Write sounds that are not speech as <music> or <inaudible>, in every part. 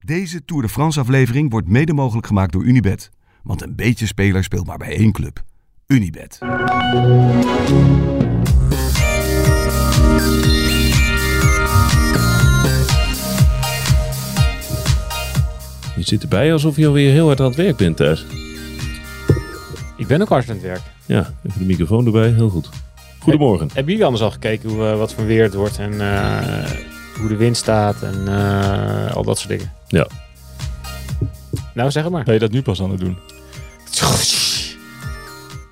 Deze Tour de France aflevering wordt mede mogelijk gemaakt door Unibet. Want een beetje speler speelt maar bij één club. Unibet. Je zit erbij alsof je alweer heel hard aan het werk bent thuis. Ik ben ook hard aan het werk. Ja, even de microfoon erbij. Heel goed. Goedemorgen. Hebben jullie anders al gekeken hoe, eh, wat voor weer het wordt en eh, hoe de wind staat en eh, al dat soort dingen? Ja. Nou, zeg het maar. Ben je dat nu pas aan het doen?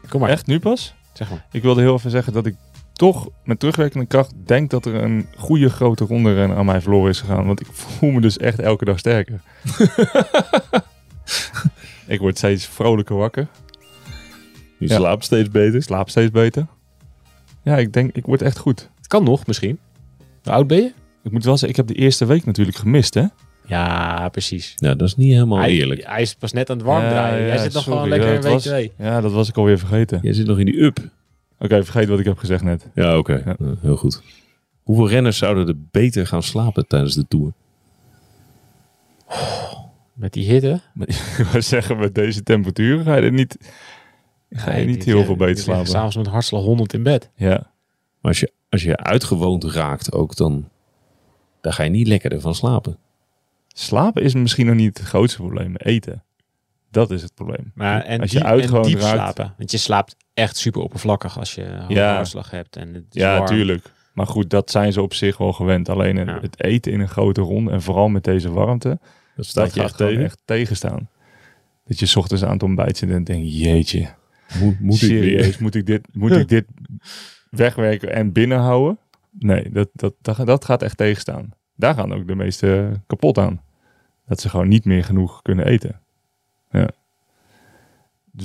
Kom maar, Echt nu pas? zeg maar. Ik wilde heel even zeggen dat ik toch met terugwerkende kracht denk dat er een goede grote ronde ren aan mij verloren is gegaan. Want ik voel me dus echt elke dag <laughs> sterker. ik word steeds vrolijker wakker. Je Ja. slaapt steeds Ik beter. slaap steeds beter. Ja, ik denk, ik word echt goed. Het kan nog, misschien. Hoe oud ben je? Ik moet wel zeggen, ik heb de eerste week natuurlijk gemist, hè? Ja, precies. Nou, dat is niet Oh, helemaal hij, eerlijk. Hij is pas net aan het warm Ja, draaien. Hij ja, zit nog sorry. gewoon lekker Ja, in dat week was- 2. Ja, dat was ik alweer vergeten. Jij zit nog in die up. Oké, vergeet wat ik heb gezegd net. Ja, oké. Ja. Nou, heel goed. Hoeveel renners zouden er beter gaan slapen tijdens de Tour? Met die hitte. ik wou <laughs> zeggen, met deze temperaturen ga je er niet, ga je Nee, niet die- heel die- veel die beter liggen slapen. S'avonds met hartslag 100 in bed. Ja. Maar als je, als je uitgewoond raakt ook, dan, dan ga je niet lekkerder van slapen. Slapen is misschien nog niet het grootste probleem. Eten. Dat is het probleem. Maar, en Als je diep- uit en gewoon diep raakt- slapen. Want je slaapt echt super oppervlakkig als je hoge Ja. hartslag hebt. En het is ja, warm. tuurlijk. Maar goed, dat zijn ze op zich wel gewend. Alleen het- Ja. het eten in een grote ronde en vooral met deze warmte, Dat staat dat je gaat echt gewoon tegen. echt tegenstaan. Dat je 's ochtends aan het ontbijt zit en denkt, jeetje, Moet, moet ik serieus, weer? moet ik dit, moet ik dit wegwerken en binnenhouden? Nee, dat, dat, dat, dat gaat echt tegenstaan. Daar gaan ook de meesten kapot aan. Dat ze gewoon niet meer genoeg kunnen eten. Ja.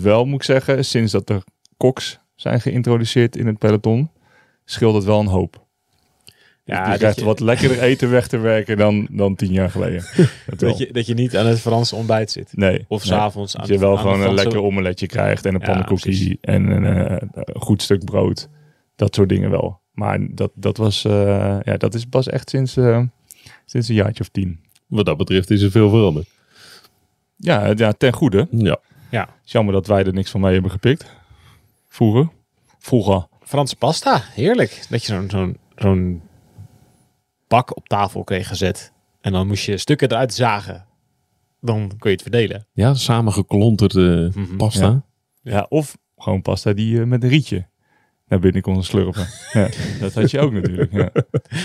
Wel moet ik zeggen, sinds dat er koks zijn geïntroduceerd in het peloton, scheelt het wel een hoop. Ja, je dat krijgt je- wat lekkerder eten weg te werken dan, dan tien jaar <laughs> geleden. Dat wel. Dat je, dat je niet aan het Franse ontbijt zit. nee. Of nee. s'avonds aan Dat je wel aan de gewoon een Franse- lekker omeletje krijgt en een Ja, precies. pannenkoekie en een eh, een goed stuk brood. Dat soort dingen wel. Maar dat, dat, was, eh, ja, dat is pas echt sinds, eh, sinds een jaartje of tien. Wat dat betreft is er veel veranderd. Ja, eh, ja, ten goede. Ja. Is jammer dat wij er niks van mee hebben gepikt. Vroeger. Vroeger. Franse pasta, heerlijk. Dat je zo'n zo'n zo'n bak op tafel kreeg gezet. En dan moest je stukken eruit zagen. Dan kon je het verdelen. Ja, samengeklonterde Mhm. pasta. Ja, of gewoon pasta die eh, met een rietje naar binnen kon slurpen. ja, dat had je ook natuurlijk. Ja.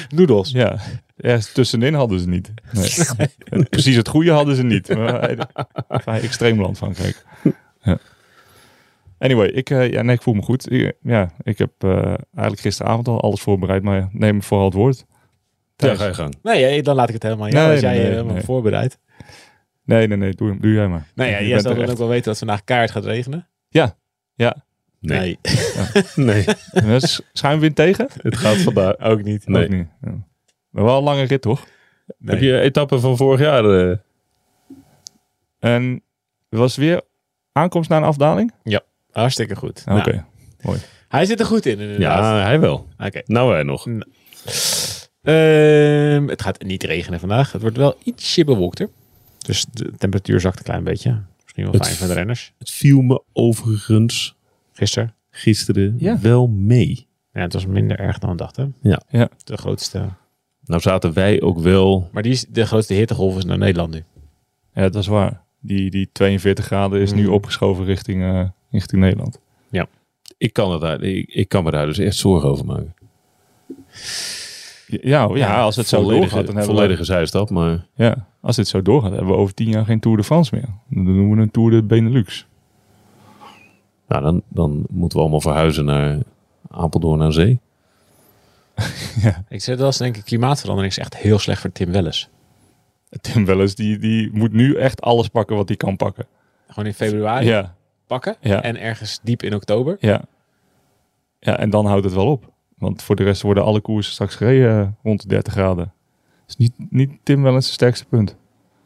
Noedels. Ja, ergens tussenin hadden ze niet. <laughs> Nee. Precies het goede hadden ze niet. Maar wij- Vrij extreem land Frankrijk. Ja. Anyway, ik, eh, ja, nee, ik voel me goed. Ik, eh, ja, ik heb eh, eigenlijk gisteravond al alles voorbereid, maar neem vooral het woord. Ja, Thijs. ga je gang. Nee, hé, dan laat ik het helemaal. aan jou, Nee, als jij nee, eh, nee, helemaal nee. voorbereid. Nee, nee, nee, doe, doe jij maar. Nou ja, Je jij bent zal er dan echt. ook wel weten dat het vandaag kaart gaat regenen. Nee. Nee, Ja, sch- Schuimwind tegen? <laughs> <laughs> het gaat vandaag. ook niet. Nee. Ook niet. Ja. Maar wel een lange rit, toch? Nee. Heb je etappen van vorig jaar? eh, En er was weer aankomst naar een afdaling? <laughs> Hartstikke goed. Oké. Nou, hij zit er goed in, inderdaad. ja, hij wel. Oké. Nou, wij nog. Ehm, het gaat niet regenen vandaag. Het wordt wel ietsje bewolkter. Dus de temperatuur zakt een klein beetje. Misschien wel Het- fijn voor de renners. Het viel me overigens Gisteren. gisteren Ja. wel mee. Ja, het was minder erg dan we dachten. Ja. Ja. De grootste. Nou zaten wij ook wel... Maar die is de grootste hittegolf is naar Nederland nu. Ja, dat is waar. Die, die 42 graden is nu Mm. opgeschoven richting, eh, richting Nederland. Ik kan, het daar, ik, ik kan me daar dus echt zorgen over maken. Ja, ja, als het zo volledige, doorgaat, dan hebben volledige zijstap, maar... we... Ja, als dit zo doorgaat, hebben we over tien jaar geen Tour de France meer. Dan doen we een Tour de Benelux. <laughs> Nou, dan, dan moeten we allemaal verhuizen naar Apeldoorn aan zee. Ik zei, dat was denk ik klimaatverandering is echt heel slecht voor Tim Welles. Tim Wellens, die, die moet nu echt alles pakken wat hij kan pakken. Gewoon in februari Ah, Ja, pakken Ja. en ergens diep in oktober. ja. Ja, en dan houdt het wel op. Want voor de rest worden alle koersen straks gereden eh, rond de 30 graden. Dus niet, niet Tim Wellens zijn sterkste punt.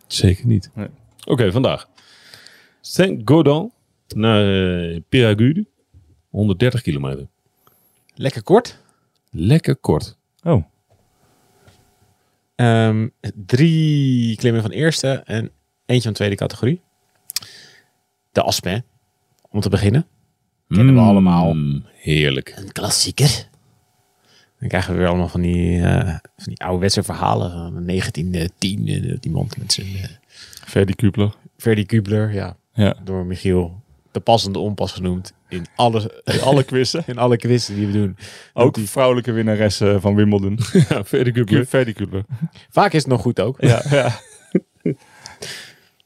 Zeker niet. Nee. Oké, vandaag. Saint-Gaudens naar eh, Peragude. 130 kilometer. Lekker kort. Lekker kort. Oh, Ehm, drie klimmen van eerste en eentje van tweede categorie. De Aspen, om te beginnen. Kennen we allemaal. Mm, Heerlijk. Een klassieker. Dan krijgen we weer allemaal van die, eh van die ouderwetse verhalen. Van 1910, eh, die man met zijn eh, Ferdi Kupler. Ferdi Kubler. Ja, Ja. door Michiel de passende onpas genoemd. In alle, <laughs> In alle quizzen. in alle quizzen die we doen. Ook <laughs> vrouwelijke winnaressen van <laughs> Wimbledon. Ja, verder Ku- Ferdi Kupler. Vaak is het nog goed ook. Ja, ja.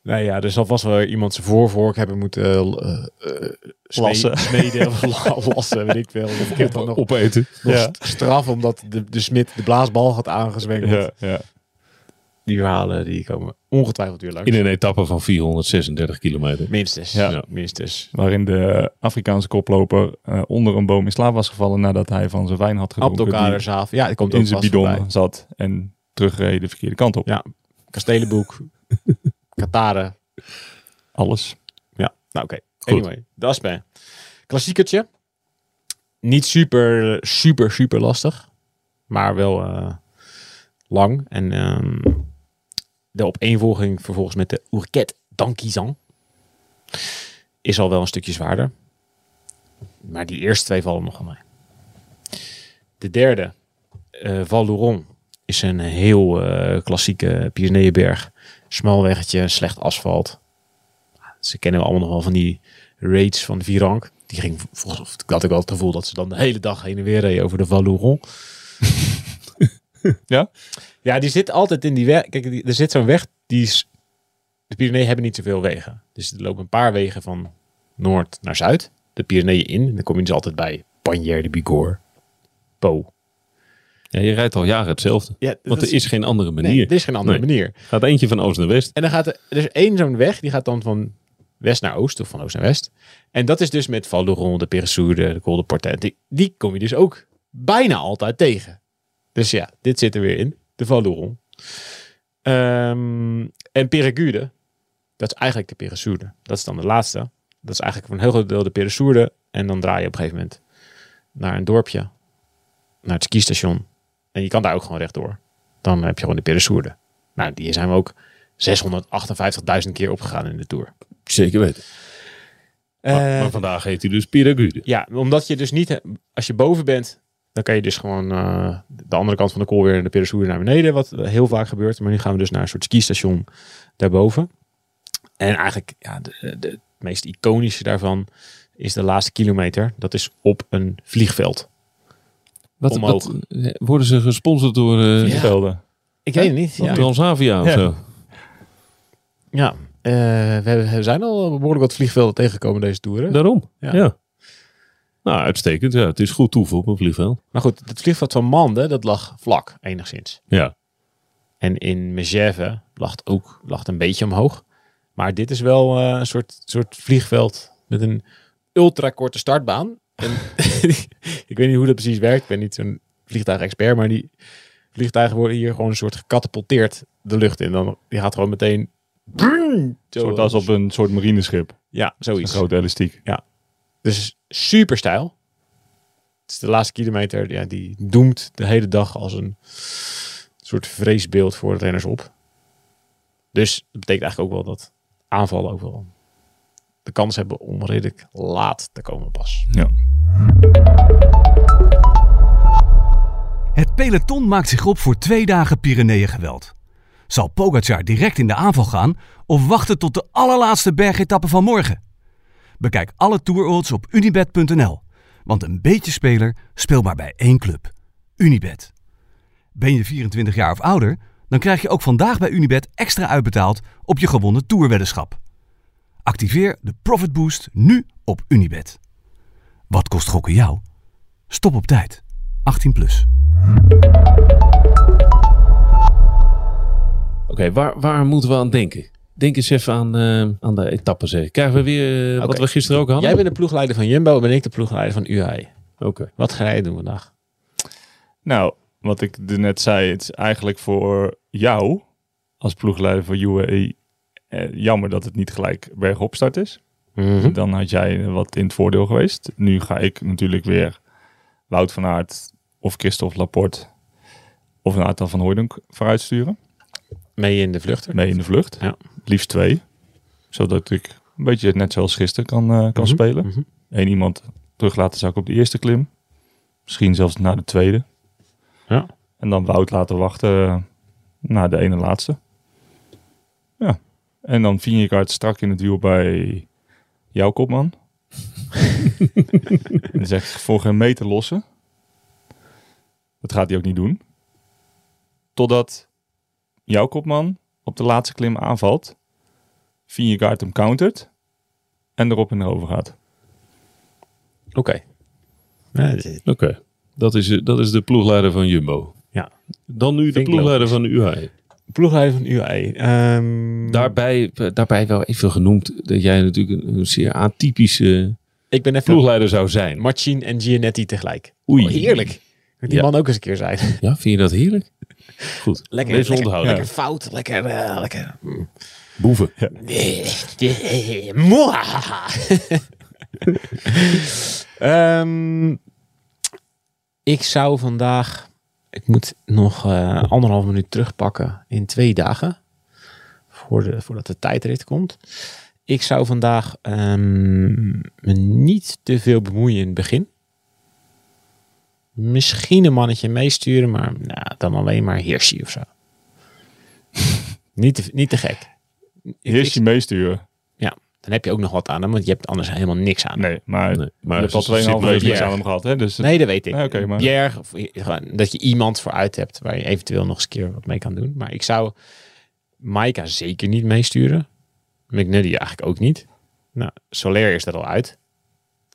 Nou ja, er zal vast wel iemand zijn voorvork hebben moeten eh, l- eh, eh, smee- <laughs> Lassen. Smeden, of la- lassen, weet ik veel. Of ik heb dan nog, Opeten. nog ja. st- straf omdat de, de smid de blaasbal had aangezwengeld. ja, ja. Die verhalen die komen ongetwijfeld weer langs. In een etappe van 436 kilometer. Minstens. Ja. Ja. Minstens. Waarin de Afrikaanse koploper eh, onder een boom in slaap was gevallen nadat hij van zijn wijn had gedronken. die Abdelkaderzaaf. Ja, die komt ook in zijn vast voorbij. bidon zat en terugreed de verkeerde kant op. Ja. <laughs> Kastelenboek. Kataren. Alles. Ja, nou oké. Goed. Anyway, dat is bij. Klassiekertje. Niet super, super, super lastig. Maar wel eh, lang. En ehm, de opeenvolging vervolgens met de Ourquette d'Anquizan is al wel een stukje zwaarder. Maar die eerste twee vallen nog aan mij. De derde, eh Val d'Oron, is een heel eh, klassieke Pyreneeënberg. Smal weggetje, slecht asfalt. Ze kennen we allemaal nog wel van die raids van Virank. Die ging, volgens mij had ik wel het gevoel dat ze dan de hele dag heen en weer reden over de Valouron. <laughs> Ja? Ja, die zit altijd in die weg. Kijk, die- er zit zo'n weg, die is... De Pyreneeën hebben niet zoveel wegen. Dus er lopen een paar wegen van noord naar zuid. De Pyreneeën in. En dan kom je dus altijd bij Panier de Bigorre. Po. Ja, je rijdt al jaren hetzelfde. Ja, Want er is geen andere manier. er is geen andere Nee. manier. Gaat eentje van oost naar west. En dan gaat er, er is één zo'n weg, die gaat dan van west naar oost of van oost naar west. En dat is dus met Val d'Oron, de Peressourde, de Col de Portet. Die, die kom je dus ook bijna altijd tegen. Dus ja, dit zit er weer in. De Val d'Oron. Ehm, en Peregude, dat is eigenlijk de Peressourde. Dat is dan de laatste. Dat is eigenlijk voor een heel groot deel de Peressourde. En dan draai je op een gegeven moment naar een dorpje. Naar het skistation. En je kan daar ook gewoon rechtdoor. Dan heb je gewoon de Peressourde. Nou, die zijn we ook 658.000 keer opgegaan in de Tour. Zeker weten. Eh, maar, maar vandaag heet hij dus Piragude. ja, omdat je dus niet... Als je boven bent, dan kan je dus gewoon eh, de andere kant van de kool weer de Peressoer naar beneden. Wat heel vaak gebeurt. Maar nu gaan we dus naar een soort skistation daarboven. En eigenlijk, ja, de, de, het meest iconische daarvan is de laatste kilometer. Dat is op een vliegveld. Wat, Omhoog. wat, eh, worden ze gesponsord door eh, Ja. Velden. Ik weet het niet. Ja, Transavia of Ja. zo? ja. Eh, we, hebben- we zijn al behoorlijk wat vliegvelden tegengekomen deze toeren. Daarom. Ja. Ja. Nou, uitstekend. Ja, het is goed toevoegen op een vliegveld. Maar goed, het vliegveld van Mande, dat lag vlak enigszins. Ja. En in Megève lag het ook lag het een beetje omhoog. Maar dit is wel eh, een soort, soort vliegveld met een ultrakorte startbaan. En <laughs> ik weet niet hoe dat precies werkt. Ik ben niet zo'n vliegtuigexpert, maar die vliegtuigen worden hier gewoon een soort gecatapulteerd de lucht in. Dan, die gaat gewoon meteen... Zo, Soort als op een soort marineschip. Ja, Een zoiets. grote elastiek. Dus super stijl. Het is de laatste kilometer, ja, die doemt de hele dag als een soort vreesbeeld voor de renners op. Dus dat betekent eigenlijk ook wel dat aanvallen ook wel de kans hebben om redelijk laat te komen pas. Ja. Het peloton maakt zich op voor twee dagen Pyreneeën geweld. Zal Pogacar direct in de aanval gaan of wachten tot de allerlaatste bergetappe van morgen? Bekijk alle toerodds op unibet.nl. Want een beetje speler speelt maar bij één club. Unibet. Ben je 24 jaar of ouder? Dan krijg je ook vandaag bij Unibet extra uitbetaald op je gewonnen toerweddenschap. Activeer de Profit Boost nu op Unibet. Wat kost gokken jou? Stop op tijd. 18 plus. Oké, waar, waar moeten we aan denken? Denk eens even aan, eh, aan de etappe zeg. Krijgen we weer eh, wat Oké. we gisteren ook hadden? Jij bent de ploegleider van Jumbo, ben ik de ploegleider van UAE. Oké. Wat ga jij doen vandaag? Nou, wat ik er net zei, het is eigenlijk voor jou als ploegleider van UAE eh, jammer dat het niet gelijk bergopstart is. Hm? Mhm. Dan had jij wat in het voordeel geweest. Nu ga ik natuurlijk weer Wout van Aert of Christophe Laporte Of een aantal van Hooydonk vooruit sturen. Mee in de vluchter. Mee in de vlucht. Ja. Liefst twee. Zodat ik een beetje net zoals gisteren kan, eh, kan Mhm, spelen. mhm. Eén iemand terug laten zakken op de eerste klim. Misschien zelfs na de tweede. Ja. En dan Wout laten wachten eh, naar de ene laatste. Ja. En dan Vingegaard strak in het wiel bij jouw kopman. en zegt voor geen meter lossen. Dat gaat hij ook niet doen. Totdat jouw kopman op de laatste klim aanvalt. Vingegaard hem countert. En erop en erover gaat. Oké. Ja, dat is- Oké, dat, is, eh, dat is de ploegleider van Jumbo. Ja. Dan nu de Vind ik ploegleider van de E. UAE. Ploegleider van UAE. Ehm, Daarbij, eh, daarbij wel even genoemd dat jij natuurlijk een, een zeer atypische ik ben even ploegleider zou zijn. Marcin en Gianetti tegelijk. Oei. Oh, heerlijk. Dat die Ja. man ook eens een keer zijn. Ja, vind je dat heerlijk? Goed. Lekker, Deze lekker, onthouden. lekker fout. Lekker, eh, lekker. Boeven. Moahaha. <laughs> Ehm, ik zou vandaag, ik moet nog eh, anderhalf minuut terugpakken in twee dagen. Voor de, voordat de tijdrit komt. Ik zou vandaag ehm, me niet te veel bemoeien in het begin. Misschien een mannetje meesturen, maar nou, dan alleen maar Hirschi of zo. <laughs> niet, te, niet te gek. Ik- Eerst je meesturen. ja, dan heb je ook nog wat aan hem, want je hebt anders helemaal niks aan. hem. Nee, maar Nee, je maar hebt al ze- ze zit 2,5 nooit weken niks meer. aan hem gehad. Hè? Dus Nee, dat weet ik. Nee, oké, maar- Bjerg, of i- gewoon dat je iemand vooruit hebt waar je eventueel nog eens een keer wat mee kan doen. Maar ik zou Maika zeker niet meesturen. McNuddy eigenlijk ook niet. Nou, Soler is er al uit.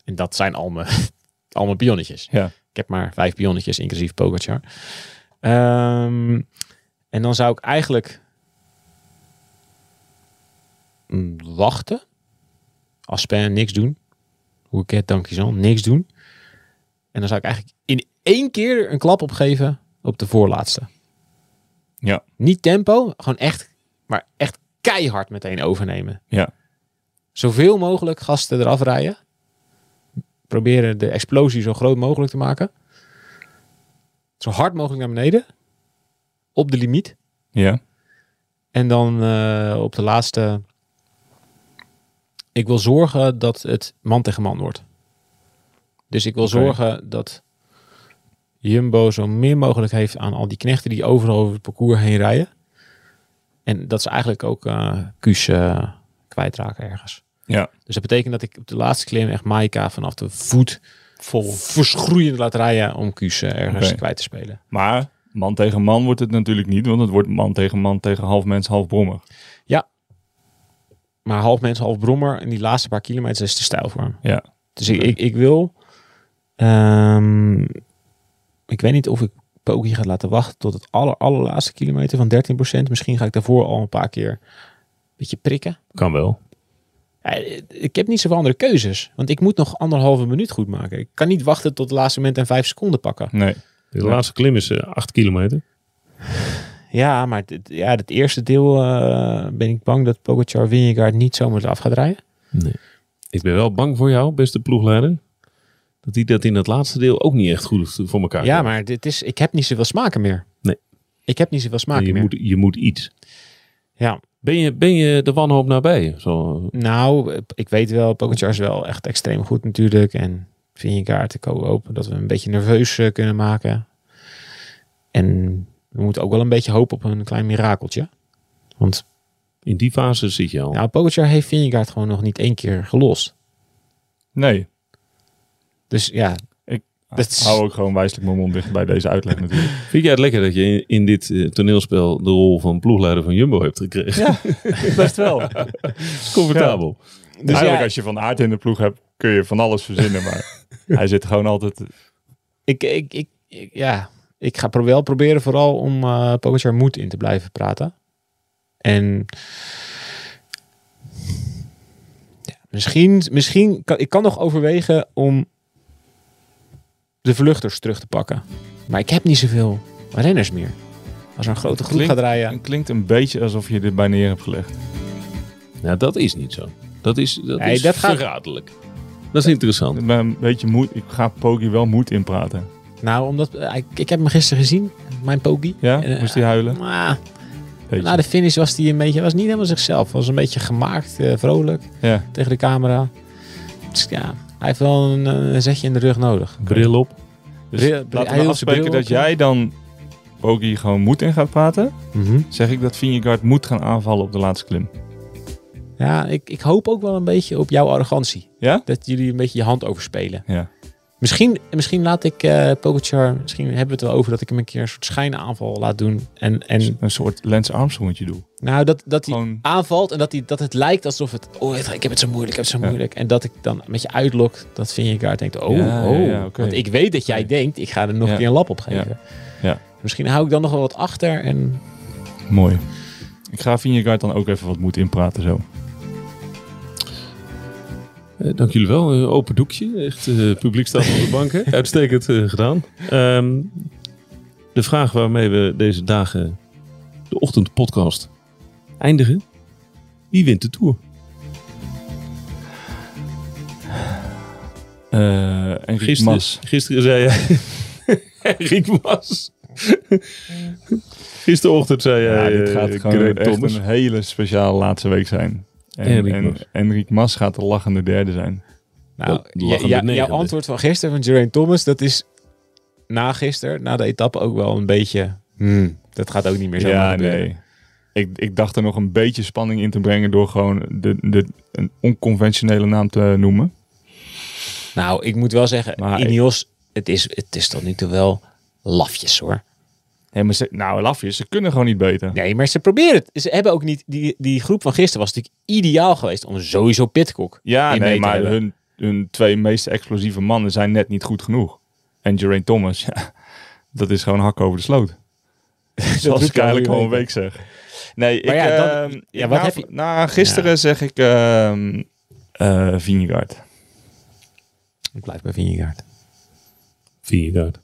En dat zijn al mijn, <laughs> al mijn pionnetjes. Ja. Ik heb maar vijf pionnetjes, inclusief Pogacar. Ehm, en dan zou ik eigenlijk mm, wachten. Aspen niks doen. Hoeket, Dankjewel, niks doen. En dan zou ik eigenlijk in één keer een klap opgeven op de voorlaatste. Ja. Niet tempo, gewoon echt, maar echt keihard meteen overnemen. Ja. Zoveel mogelijk gasten eraf rijden. Proberen de explosie zo groot mogelijk te maken. Zo hard mogelijk naar beneden. Op de limiet. Ja. En dan eh, op de laatste. Ik wil zorgen dat het man tegen man wordt. Dus ik wil Oké. zorgen dat Jumbo zo min mogelijk heeft aan al die knechten die overal over het parcours heen rijden. En dat ze eigenlijk ook eh Kuus eh, kwijtraken ergens. Ja. Dus dat betekent dat ik op de laatste klim echt Maika vanaf de voet vol verschroeiend laat rijden om Kuus eh, ergens Oké. kwijt te spelen. Maar man tegen man wordt het natuurlijk niet. Want het wordt man tegen man tegen half mens, half brommer. Maar half mens, half brommer. En die laatste paar kilometers is te stijl voor hem. Ja. Dus ik, ik, ik wil... ehm, ik weet niet of ik Pogi ga laten wachten tot het aller, allerlaatste kilometer van 13%. Misschien ga ik daarvoor al een paar keer een beetje prikken. Kan wel. Ja, Ik heb niet zoveel andere keuzes. Want ik moet nog anderhalve minuut goed maken. Ik kan niet wachten tot het laatste moment en vijf seconden pakken. Nee. De Ja. laatste klim is eh, acht kilometer. Ja, maar het, ja, het eerste deel eh, ben ik bang dat Pogacar Vingegaard niet zomaar af gaat rijden. Ik ben wel bang voor jou, beste ploegleider. Dat hij dat in het laatste deel ook niet echt goed voor elkaar Ja, krijgt. maar dit is, ik heb niet zoveel smaken meer. Nee. Ik heb niet zoveel smaken je meer. moet, je moet iets. Ja, Ben je, ben je de wanhoop nabij? Zo, nou, ik weet wel, Pogacar is wel echt extreem goed natuurlijk. En Vingegaard, ik hoop ook dat we hem een beetje nerveus eh, kunnen maken. En we moeten ook wel een beetje hopen op een klein mirakeltje. Want in die fase zit je al. nou, Pogacar heeft Vingegaard gewoon nog niet één keer gelost. Nee. Dus ja, Dat is- Hou ook gewoon wijselijk mijn mond dicht bij deze <laughs> uitleg natuurlijk. Vind jij het lekker dat je in, in dit eh, toneelspel de rol van ploegleider van Jumbo hebt gekregen? Best <laughs> wel. Comfortabel. dus Eigenlijk ja als je Van Aert in de ploeg hebt, kun je van alles verzinnen. <laughs> Maar hij zit gewoon altijd... ik, ik, ik, ik- ja, ik ga pro- wel proberen vooral om eh Pogacar moed in te blijven praten. En ja, misschien, misschien kan, ik kan nog overwegen om de vluchters terug te pakken. Maar ik heb niet zoveel renners meer. Als er een grote groep Klinkt- gaat rijden. Het klinkt een beetje alsof je dit bij neer hebt gelegd. Nou, dat is niet zo. Dat is, dat Nee, is dat gaat- verraderlijk. Dat is interessant. Ik ben een beetje moed. Ik ga Pogi wel moed inpraten. Nou, omdat eh, ik, ik heb hem gisteren gezien, mijn Poki. Ja? Eh, Moest hij huilen? Maar Beetje. na de finish was hij een beetje, was niet helemaal zichzelf. Was een beetje gemaakt, eh, vrolijk Ja. tegen de camera. Dus ja, hij heeft wel een, eh, een zetje in de rug nodig. Bril op. Dus Bril- hij laten hield we zijn afspreken bril dat op, jij dan Pogi gewoon moed in gaat praten. Zeg ik dat Vingegaard moet gaan aanvallen op de laatste klim. Ja, ik, ik hoop ook wel een beetje op jouw arrogantie. Ja? Dat jullie een beetje je hand overspelen. Ja. Misschien, misschien laat ik eh Pogacar, misschien hebben we het wel over dat ik hem een keer een soort schijnaanval laat doen. En, en Een soort Lance Armstrongetje doe. nou, dat, dat hij Gewoon aanvalt en dat, hij, dat het lijkt alsof het, oh ik heb het zo moeilijk, ik heb het zo Ja. moeilijk. En dat ik dan met je uitlok, dat Vingegaard denkt, oh, Ja, oh. ja, ja, oké. Want ik weet dat jij Oké. denkt, ik ga er nog Ja. een keer een lap op geven. Ja. Misschien hou ik dan nog wel wat achter en mooi. Ik ga Vingegaard dan ook even wat moed inpraten zo. Eh, dank jullie wel. Eh, open doekje. Echt eh, publiek staat op de banken. <laughs> Uitstekend eh, gedaan. Ehm, de vraag waarmee we deze dagen de ochtendpodcast eindigen. Wie wint de Tour? Eh en Gisteren, gisteren. gisteren zei jij... <laughs> Riek Mas. Gisterochtend zei Ja, jij... dit eh, gaat gewoon Geraint echt Thomas. een hele speciale laatste week zijn. En En, Riek en, Mas. en Riek Mas gaat de lachende derde zijn. Nou, Ja, ja, lachende ja, negende. jouw dus. antwoord van gisteren van Geraint Thomas, dat is na gisteren, na de etappe ook wel een beetje. hmm, dat gaat ook niet meer zo Ja, nee. eh, Ik, ik dacht er nog een beetje spanning in te brengen door gewoon de, de, een onconventionele naam te noemen. Nou, ik moet wel zeggen, Maar ik- Ineos, het is, het is tot nu toe wel lafjes hoor. Nee, maar ze, nou, lafjes, ze kunnen gewoon niet beter. Nee, maar ze proberen het. Ze hebben ook niet, die, die groep van gisteren was natuurlijk ideaal geweest om sowieso Pitcock. Ja, in mee nee, te maar hebben. hun, hun twee meest explosieve mannen zijn net niet goed genoeg. En Geraint Thomas, ja, dat is gewoon hak over de <laughs> sloot. Zoals doet ik eigenlijk hij al al een week zeg. Nee, Maar ik, ja, dan- ehm, ja, ik- wat na, heb je- na gisteren zeg ik ehm eh Vingegaard. Ik blijf bij Vingegaard. Vingegaard.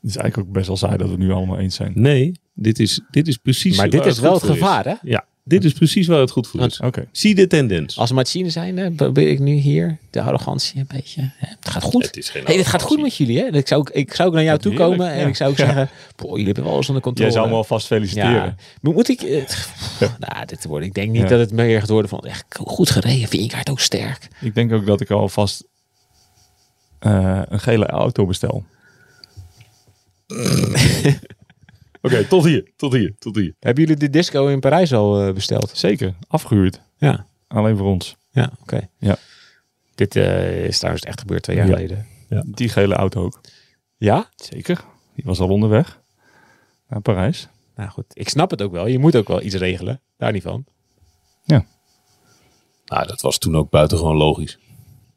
Het is eigenlijk ook best wel saai dat we het nu allemaal eens zijn. Nee, dit is, dit is precies Maar dit waar is wel eh, goed het voor gevaar, hè? Ja, dit is precies waar het goed voor Want- is. Oké. Zie de tendens. Als machine zijn, probeer ik nu hier de arrogantie een beetje. hè, Het gaat goed. Het is geen Hey, dit gaat goed arrogantie. met jullie, hè? Ik zou, ook- ik zou ook naar jou toe Heerlijk, komen en ja. ik zou ook zeggen: Boah, jullie hebben wel alles onder controle. Jij zou hem alvast feliciteren. Ja. Maar Moet ik. eh, pff, nou, dit wordt. Ik denk niet Ja. dat het meer gaat worden van. Echt goed gereden. Vingegaard ook sterk. Ik denk ook dat ik alvast eh, een gele auto bestel. Oké, tot hier, tot hier, tot hier. Hebben jullie de disco in Parijs al eh, besteld? Zeker, afgehuurd. Ja. Alleen voor ons. Ja, oké. Ja. Dit eh, is trouwens echt gebeurd twee jaar Ja. geleden. Die gele auto ook. Ja? Zeker. Die was al onderweg naar Parijs. Nou goed. Ik snap het ook wel. Je moet ook wel iets regelen. Daar niet van. Nou, dat was toen ook buitengewoon logisch.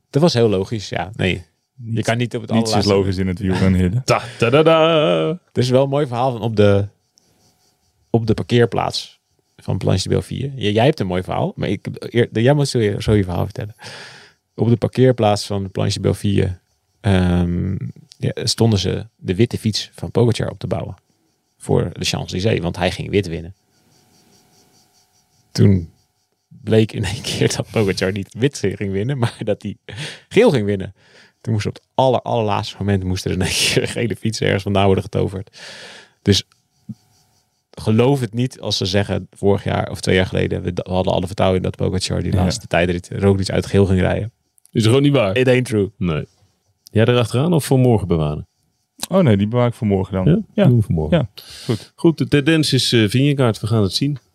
Dat was heel logisch. Ja. Nee. je kan niet op het Niets is allerlaatste. logisch in het wielrennen. Hidde. Ta, ta, da, da. Er is wel een mooi verhaal van op de, op de parkeerplaats van Planche de Belvier. J- jij hebt een mooi verhaal, maar ik, eer- jij moet zo je, zo je verhaal vertellen. Op de parkeerplaats van Planche de Belvier ehm, ja, stonden ze de witte fiets van Pogacar op te bouwen. Voor de Champs-Élysées, want hij ging wit winnen. Toen bleek in één keer dat Pogacar niet wit ging winnen, maar dat hij geel ging winnen. Toen moest op het aller, allerlaatste moment moest er in één keer een gele fiets ergens vandaan worden getoverd. Dus geloof het niet als ze zeggen vorig jaar of twee jaar geleden, we, d- we hadden alle vertrouwen in dat Pogacar die Ja. laatste tijdrit Roglic uit geel ging rijden. Is gewoon niet waar. It ain't true. Nee. Jij erachteraan of voor morgen bewaren? Oh nee, die bewaar ik voor morgen dan. Ja, Ja. Doen we voor morgen. Ja, goed. Goed, de tendens is eh Vingegaard. We gaan het zien.